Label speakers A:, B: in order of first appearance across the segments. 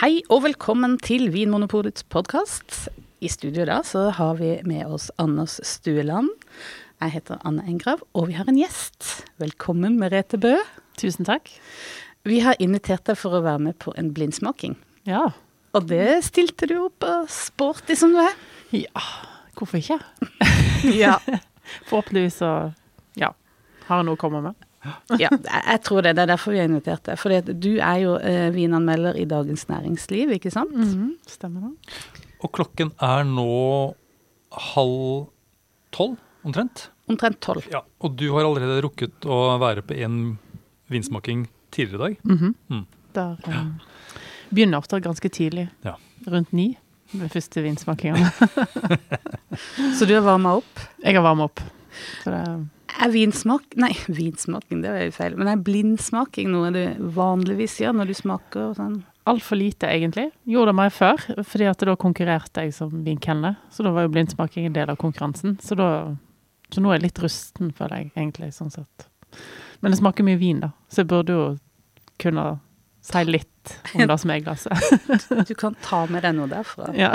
A: Hei og velkommen til Vinmonopolets podkast. I studio da så har vi med oss Anders Stueland. Jeg heter Anne Engrav, og vi har en gjest. Velkommen, Merete Bø.
B: Tusen takk.
A: Vi har invitert deg for å være med på en blindsmaking.
B: Ja.
A: Og det stilte du opp og sporty som du er.
B: ja. Hvorfor ikke?
A: Ja.
B: Forhåpentligvis så ja, har jeg noe å komme med.
A: ja jeg jeg tror det. Det er derfor vi har invitert deg. For du er jo eh, vinanmelder i Dagens Næringsliv, ikke sant?
B: Mm. Mhm, Stemmer det?
C: Og klokken er nå halv tolv, omtrent.
A: Omtrent tolv.
C: Ja, Og du har allerede rukket å være på én vinsmaking tidligere i dag.
B: Mhm. Der um, begynner ofte ganske tidlig.
C: Ja.
B: Rundt ni. Med første vinsmakingene.
A: Så du har varma opp.
B: Jeg har varma opp. Så det, um,
A: Er vinsmak Nei, vinsmaking, det var jo feil. Men er blindsmaking noe du vanligvis gjør når du smaker og sånn?
B: Altfor lite, egentlig. Gjorde det meg før, fordi at da konkurrerte jeg som vinkelner. Så da var jo blindsmaking en del av konkurransen. Så, da, så nå er jeg litt rusten, føler jeg, egentlig, sånn sett. Men det smaker mye vin, da, så jeg burde jo kunne si litt om det som er i glasset.
A: Du kan ta med deg noe derfra.
B: Ja.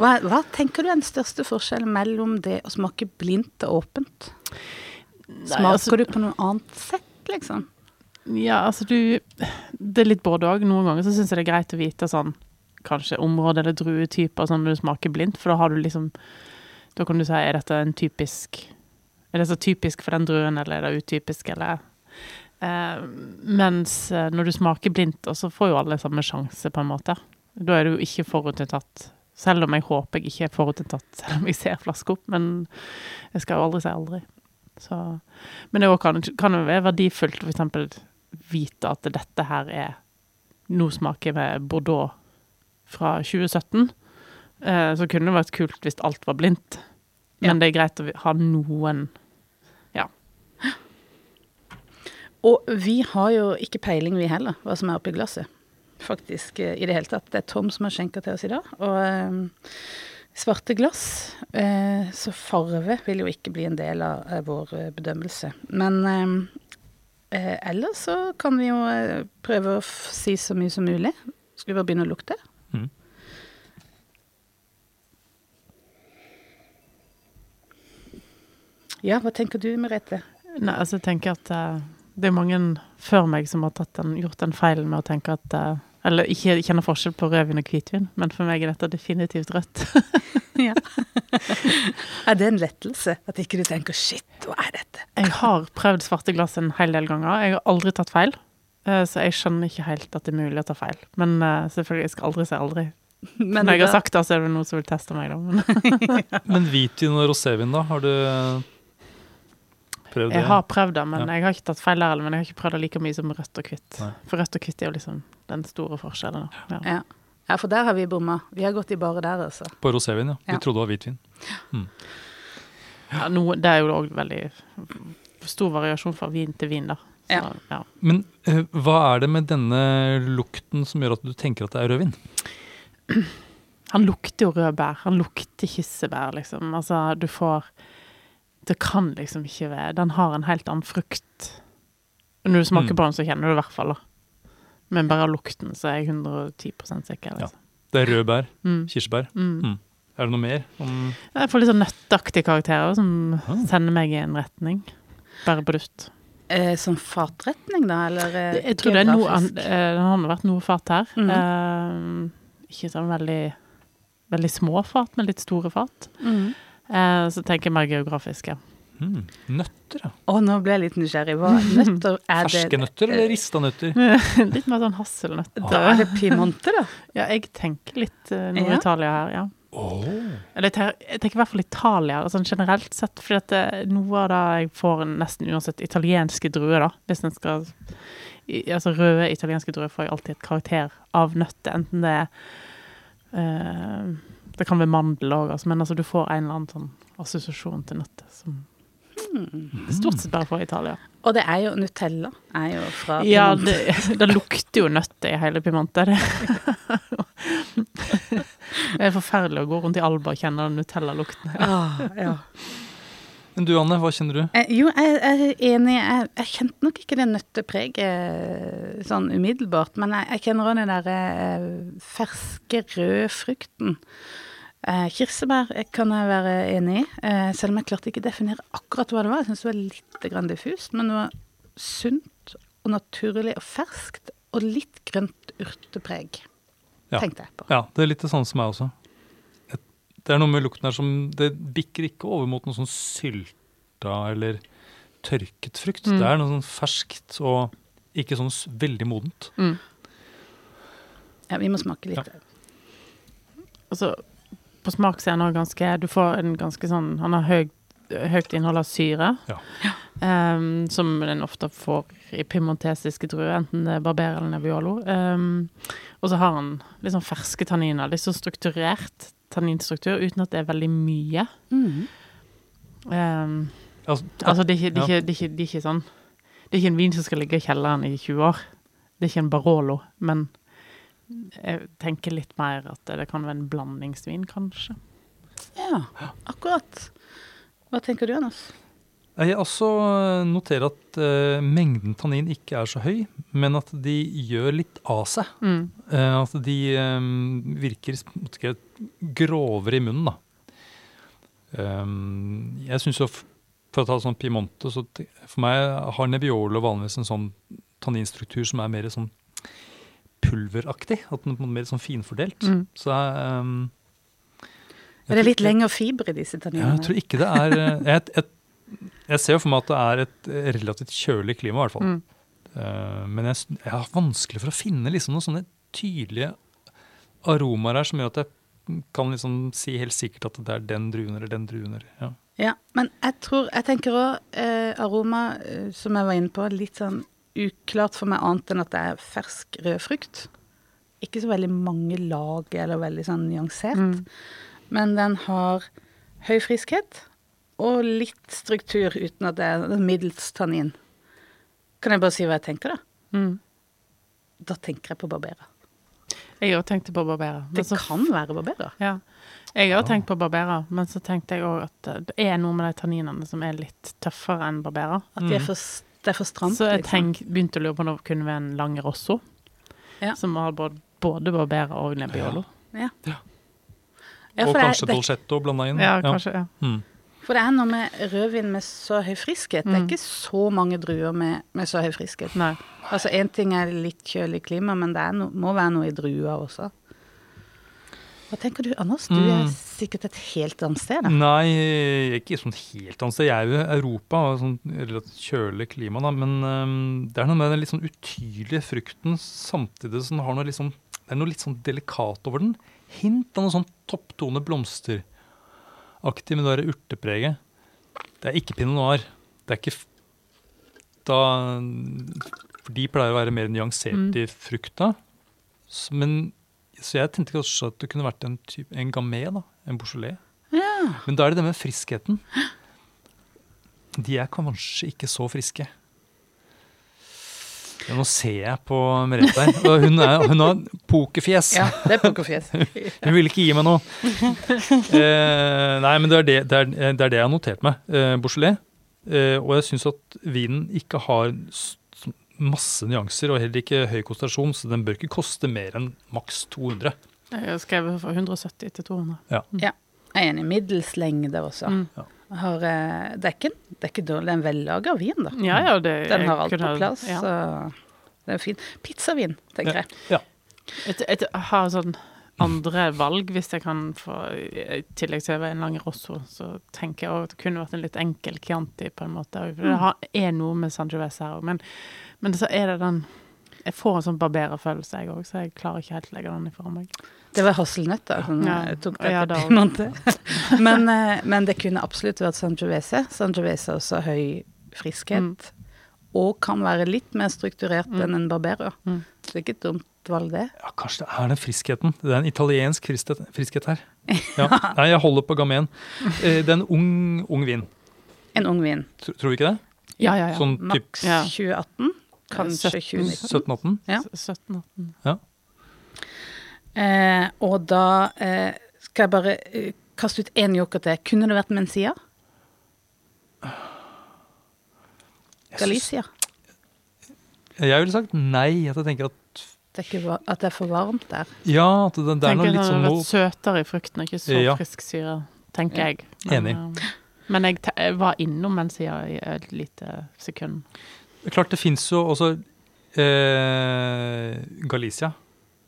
A: Hva, hva tenker du er den største forskjellen mellom det å smake blindt og åpent? Smaker
B: altså-
A: du på noe annet sett, liksom?
B: Ja, altså du Det er litt både òg. Noen ganger så syns jeg det er greit å vite sånn kanskje område eller druetyper sånn når du smaker blindt, for da har du liksom Da kan du si er dette en typisk Er det så typisk for den druen, eller er det utypisk, eller eh, Mens eh, når du smaker blindt, og så får jo alle samme sjanse, på en måte. Da er du jo ikke forutinntatt. Selv om jeg håper jeg ikke er forutinntatt, selv om jeg ser flaska opp, men jeg skal jo aldri si aldri. Så men det er også kan, kan jo være verdifullt å for eksempel vite at dette her er Nå smaker med Bordeaux fra 2017. Eh, så kunne det vært kult hvis alt var blindt. Men det er greit å ha noen
A: Og vi har jo ikke peiling, vi heller, hva som er oppi glasset. Faktisk eh, i det hele tatt. Det er Tom som har skjenka til oss i dag. Og eh, svarte glass, eh, så farve vil jo ikke bli en del av eh, vår eh, bedømmelse. Men eh, eh, ellers så kan vi jo eh, prøve å f si så mye som mulig. Skal vi bare begynne å lukte?
C: Mhm.
A: Ja, hva tenker du, Merete?
B: Nei, altså jeg tenker at eh, det er mange før meg som har tatt den, gjort den feilen med å tenke at eh, Eller ikke kjenner forskjell på rødvin og hvitvin, men for meg er dette definitivt rødt.
A: Ja. er det en lettelse at ikke du tenker 'shit, hva er dette'?
B: Jeg har prøvd svarte glass en hel del ganger. Jeg har aldri tatt feil. eh, Så jeg skjønner ikke helt at det er mulig å ta feil. Men eh, selvfølgelig, jeg skal aldri si aldri.
A: Men
B: Når jeg har
A: da-
B: sagt det, så er det noen som vil teste meg, da. Men
C: Men hvitvin og rosévin, da? Har du prøvd det?
B: jeg har prøvd det, men
C: Ja.
B: jeg har ikke tatt feil der heller. Men jeg har ikke prøvd det like mye som rødt og hvitt.
C: Nei.
B: For rødt og hvitt er jo liksom den store forskjellen. da. Ja.
A: ja. ja, for der har vi bomma. Vi har gått i bare der, altså.
C: På rosévin, ja. Vi
A: Ja.
C: trodde det var hvitvin.
B: Ja, noe- det er jo òg veldig stor variasjon fra vin til vin, da. Så,
A: Ja.
B: ja.
C: Men eh, hva er det med denne lukten som gjør at du tenker at det er rødvin?
B: Han lukter jo røde bær. Han lukter kirsebær, liksom. Altså, du får Det kan liksom ikke være Den har en helt annen frukt. Når du smaker
C: Mm.
B: på den, så kjenner du det i hvert fall, da. Men bare av lukten så er jeg 110 sikker.
C: Ja.
B: Liksom.
C: Det er rød bær.
B: Mm.
C: Kirsebær.
B: Mm.
C: Er det noe mer? Om
B: Jeg får litt sånn nøtteaktige karakterer som
C: Ah.
B: sender meg i en retning. Bare på duft.
A: Eh, som fatretning, da, eller eh,
B: Jeg tror det er noe an,
A: geografisk?
B: eh, Det har vært noe fat her.
A: Mhm.
B: Eh, ikke sånn veldig Veldig små fat, men litt store fat.
A: Mhm.
B: Eh, så tenker jeg mer geografisk, ja.
C: mm, nøtter, ja.
A: Å, nå ble jeg litt nysgjerrig. Hva nøtter er det?
C: Ferske nøtter eller rista
B: Mm.
C: nøtter?
B: litt mer sånn
A: Da
B: hasselnøtter.
A: er det Piemonte, da.
B: Ja, jeg tenker litt
A: Ja.
B: eh, Nord-Italia her, ja.
C: Åh.
B: Eller jeg ter- jeg tenker i hvert fall Italia, sånn generelt sett. For noe av det jeg får nesten uansett italienske druer, da. Hvis en skal i, Altså røde italienske druer får jeg alltid et karakter av nøtter. Enten det er eh, Det kan være mandel òg, altså. Men altså, du får en eller annen sånn assosiasjon til nøtter som Stort sett bare får Italia.
A: Mm. Og det er jo Nutella. Er jo fra
B: Ja,
A: Piemonte.
B: det, det lukter jo nøtter i hele Piemonte. Det. det er forferdelig å gå rundt i Alba og kjenne den Nutella-lukten.
A: Ah, ja.
C: Men du Anne, hva kjenner du?
A: Eh, jo, jeg, jeg er enig. Jeg, jeg kjente nok ikke det nøttepreget sånn umiddelbart, men jeg, jeg kjenner òg den derre eh, ferske, røde frukten. Eh, kirsebær eh, kan jeg være enig i, eh, selv om jeg klarte ikke å definere akkurat hva det var. Jeg syns det var litt grann diffust, men det var sunt og naturlig og ferskt, og litt grønt urtepreg,
C: Ja.
A: tenkte jeg på.
C: Ja, det er litt det samme som meg også. Et- Det er noe med lukten her som Det bikker ikke over mot noe sånn sylta eller tørket frukt.
B: Mm.
C: Det er noe sånn ferskt og ikke sånn s- veldig modent.
B: Mm.
A: Ja, vi må smake litt.
B: Altså, på smak så er han også ganske Du får en ganske sånn Han har høyt, høyt innhold av syre.
C: Ja.
B: Ehm, som den ofte får i piemontesiske druer, enten det er barber eller nebbiolo. Ehm, og så har han litt sånn ferske tanniner. Litt sånn strukturert tanninstruktur uten at det er veldig mye.
A: Mhm.
B: Ehm,
C: Altså,
B: altså, det er, ikke, det, er ikke, det, er ikke, det er ikke sånn Det er ikke en vin som skal ligge i kjelleren i 20 år. Det er ikke en Barolo, men jeg tenker litt mer at det kan være en blandingsvin, kanskje.
A: Ja, akkurat. Hva tenker du, Anders?
C: Nei, Jeg også eh, noterer at eh, mengden tannin ikke er så høy, men at de gjør litt av seg.
B: Mm.
C: Eh, at de eh, virker på en måte ikke grovere i munnen, da. Um, jeg syns jo, f- for å ta sånn Piemonte, så te- for meg har Nebbiolo vanligvis en sånn tanninstruktur som er mer sånn pulveraktig. At den er på en måte mer sånn finfordelt.
B: Mm.
C: Så jeg, um,
A: Er det litt lengre fiber i disse
C: ja,
A: tanninene?
C: jeg tror ikke det er eh, jeg, jeg, jeg ser jo for meg at det er et eh, relativt kjølig klima, i hvert fall.
B: Mm.
C: Eh, men jeg, s- jeg har vanskelig for å finne liksom noen sånne tydelige aromaer her som gjør at jeg kan liksom si helt sikkert at det er den druen eller den druen. Eller, ja.
A: Ja, men jeg tror Jeg tenker òg eh, aroma, eh, som jeg var inne på, litt sånn uklart for meg annet enn at det er fersk rød frukt. Ikke så veldig mange lag eller veldig sånn nyansert.
C: Mm.
A: Men den har høy friskhet og litt struktur uten at det er middels tannin. Kan jeg bare si hva jeg tenker, da?
B: Mm.
A: Da tenker jeg på barberer.
B: Jeg òg tenkte på barberer. men
A: Det
C: Altså
B: så-
A: kan være barberer.
B: Ja. Jeg òg tenkte på barberer, men så tenkte jeg òg at eh, det er noe med de tanninene som er litt tøffere enn barberer.
A: At de er
C: Mm.
A: for, s- det er for stramt.
B: så jeg
A: liksom.
B: tenk, begynte å lure på om det kunne være en lang rosso,
A: Ja.
B: som har både, både barberer og nebbiolo.
A: Ja.
C: Ja.
A: Ja,
C: Og
A: for det er-
C: kanskje
A: det-
C: dolcetto blanda inn.
B: Ja, kanskje. Ja.
C: Mm.
A: For det er noe med rødvin med så høy friskhet.
B: Mm.
A: Det er ikke så mange druer med, med så høy friskhet.
B: Nei.
A: Altså Én ting er litt kjølig klima, men det er no, må være noe i drua også. Hva tenker du, Anders? Du er
C: Mm.
A: sikkert et helt annet sted.
B: Mm.
A: Da.
C: Nei, ikke sånn helt annet sted. Jeg er jo i Europa og sånn relativt kjølig klima, da, men øhm, det er noe med den litt sånn utydelige frukten samtidig som den har noe litt sånn, det er noe litt sånn delikat over den. Hint av noe sånn topptone blomsteraktig med det der urtepreget. Det er ikke pinot noir. Det er ikke f- da, For de pleier å være mer nyansert i frukta. S- Men, så jeg tenkte kanskje at det kunne vært en, type, en gamé, da. En bouchelet.
A: Ja.
C: Men da er det det med friskheten. De er kanskje ikke så friske. Ja, nå ser jeg på Merete her. og Hun, er, hun har pokerfjes.
A: ja, det er pokerfjes.
C: Hun vil ikke gi meg noe. Eh, nei, men det er det, det, er, det, er det jeg har notert meg. Eh, Beaujolais. Eh, og jeg syns at vinen ikke har s- masse nyanser og heller ikke høy konsentrasjon, så den bør ikke koste mer enn maks 200.
B: Jeg har skrevet fra 170 til 200.
A: Jeg er enig. Middels lengde også.
B: Mm.
A: Har, eh, det, er ikke, det er ikke dårlig. Det er en vellaga vin, da.
B: Ja, ja, det,
A: Den har alt
B: Mm. kunne-
A: på plass.
B: ja.
A: Så det er fin. Pizzavin, tenker jeg.
B: Jeg, jeg, jeg har sånn andre valg, hvis jeg kan få I tillegg til en lang rosso, så tenker jeg også at det kunne vært en litt enkel Chianti, på en måte. For det har, er noe med Sangiovese her òg, men, men så er det den Jeg får en sånn barbererfølelse, jeg òg, så jeg klarer ikke helt å legge den ifra meg.
A: Det var hasselnøtter som
B: Ja.
A: eh, tok
B: Og jeg
A: det
B: hadde
A: til
B: alt.
A: Piemonte. men, eh, men det kunne absolutt vært Sangiovese. Sangiovese har også høy
B: Mm.
A: friskhet. Og kan være litt mer strukturert enn en barberer.
B: Mm.
A: Så det er ikke et dumt valg, det.
C: Ja, kanskje det er den friskheten. Det er en italiensk friskhet, friskhet her. Ja. Nei, jeg holder på gamen. Eh, Det er en ung, ung vin.
A: En ung vin.
C: Tro- Tror vi ikke det?
B: Ja, ja, ja.
C: Sånn typ
A: Maks
B: Ja.
A: 2018, kanskje 2019.
C: 17-18?
A: Ja.
B: 17-18.
C: Ja.
A: Eh, og da eh, skal jeg bare eh, kaste ut én joker til. Kunne det vært Mencia? Galicia.
C: Jeg ville sagt nei. At jeg tenker at
A: Det er ikke va- at det er for varmt der.
C: ja, at det, det er
B: Tenker
C: noe
B: jeg
C: litt
B: hadde
C: sånn
B: vært søtere i frukten og ikke så
C: Ja.
B: frisk syre, tenker
A: Ja.
B: jeg. Men,
C: Enig.
B: eh, Men jeg, te jeg var innom den sida i et lite sekund.
C: Det er Klart det fins jo også eh, Galicia,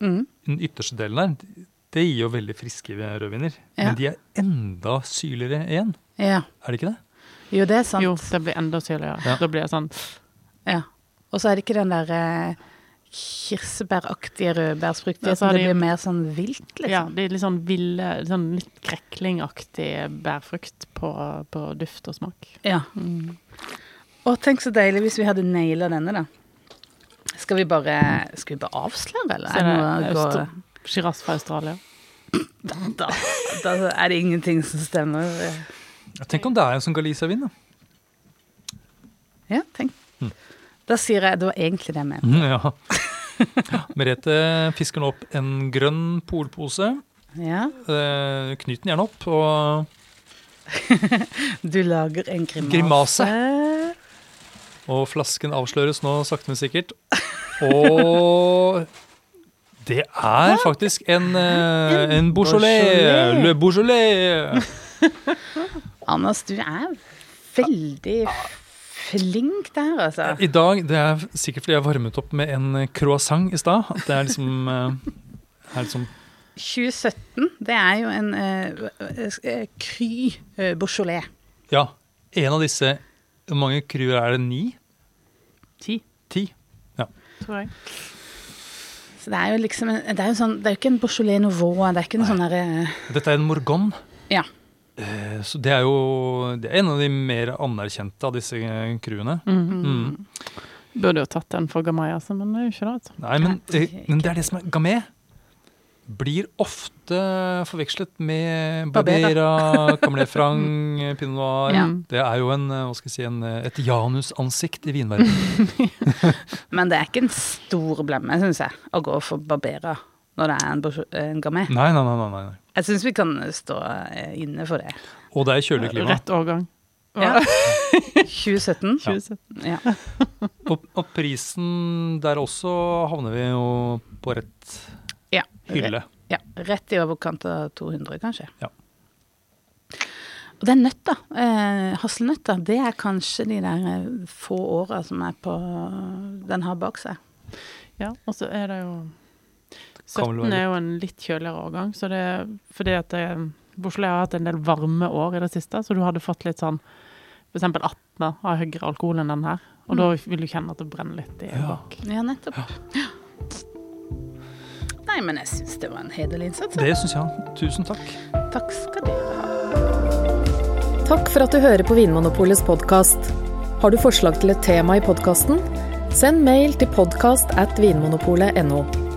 A: Mm.
C: den ytterste delen der, det gir jo veldig friske rødviner.
A: Ja.
C: Men de er enda syrligere igjen,
A: Ja.
C: er det ikke det?
A: Jo, det er sant.
B: Jo, det blir enda syrligere.
C: Ja.
B: Da blir det sånn
A: Ja. Og så er det ikke den der eh, kirsebæraktige
B: Ja, så
A: rødbærsfruktigheten.
B: har
A: Det
B: de-
A: blir mer sånn vilt,
B: Ja,
A: liksom.
B: det er litt sånn ville, sånn litt kreklingaktig bærfrukt på, på duft og smak.
A: Ja. Og tenk så deilig hvis vi hadde naila denne, da. Skal vi bare, skal vi bare avsløre, eller?
B: Så er
A: Nå
B: det
A: går-
B: Austra- Shiraz fra Australia.
A: da, da er det ingenting som stemmer.
C: Tenk om det er en sånn Galicia-vin, da.
A: Ja, tenk. Da sier jeg det var egentlig det jeg mente.
C: Mm, ja. Merete fisker nå opp en grønn polpose.
A: Ja.
C: Eh, Knyt den gjerne opp. Og,
A: Du lager en grimase.
C: og flasken avsløres nå sakte, men sikkert. Og det er faktisk en, eh, en Beaujolais.
A: Beaujolais.
C: Le Beaujolais.
A: Anders, du er veldig flink der, altså.
C: I dag, det er sikkert fordi jeg varmet opp med en eh, croissant i stad. at Det er liksom, eh, er liksom
A: 2017, det er jo en eh, eh, kry eh, Beaujolais.
C: Ja, en av disse Hvor mange kruer er det? Ni?
B: Ti,
C: Ti?
B: tror jeg.
A: Så det er jo liksom en, det er jo sånn, det er jo ikke en Beaujolais Nouveau, det er ikke en sånn derre
C: Dette er en morgon.
A: Ja.
C: Eh, Så det er jo det er en av de mer anerkjente av disse eh, kruene. Mm.
B: Mhm. Burde jo tatt den for Gamaya, altså, men det er jo ikke det. vet du.
C: Nei, men,
A: Nei,
C: eh, men det er det som er Gamay blir ofte forvekslet med Barbera, Camelé Franc, eh, Pinot Noir.
A: Ja.
C: Det er jo en, eh, hva skal jeg si, en, eh, et janusansikt i vinverdenen.
A: Men det er ikke en stor blemme, syns jeg, å gå for Barbera når det er en, Beaujo- en Gamay.
C: Nei, nei, nei, nei, nei. nei.
A: Jeg syns vi kan stå eh, inne for det.
C: Og det er kjølig klima.
B: Rett årgang.
A: Ja. 2017.
B: 2017.
A: Ja.
C: Og, og prisen der også havner vi jo på rett
A: ja.
C: hylle.
A: Ja, rett i overkant av 200, kanskje.
C: Ja.
A: Og den nøtta, eh, hasselnøtta, det er kanskje de der eh, få åra som er på den har bak seg.
B: Ja, og så er det jo
C: kan vel
B: 17
C: være
B: er jo en litt kjøligere årgang, så det er fordi at det, Borselé har hatt en del varme år i det siste, så du hadde fått litt sånn for eksempel 18 har høyere alkohol enn den her, og da vil du kjenne at det brenner litt i
C: Ja.
B: bak.
A: Ja, nettopp. Nei, men jeg syns det var en hederlig innsats.
C: Det syns jeg. Tusen takk.
A: Takk skal dere ha.
D: Takk for at du hører på Vinmonopolets podkast. Har du forslag til et tema i podkasten? Send mail til podkast at vinmonopolet.no.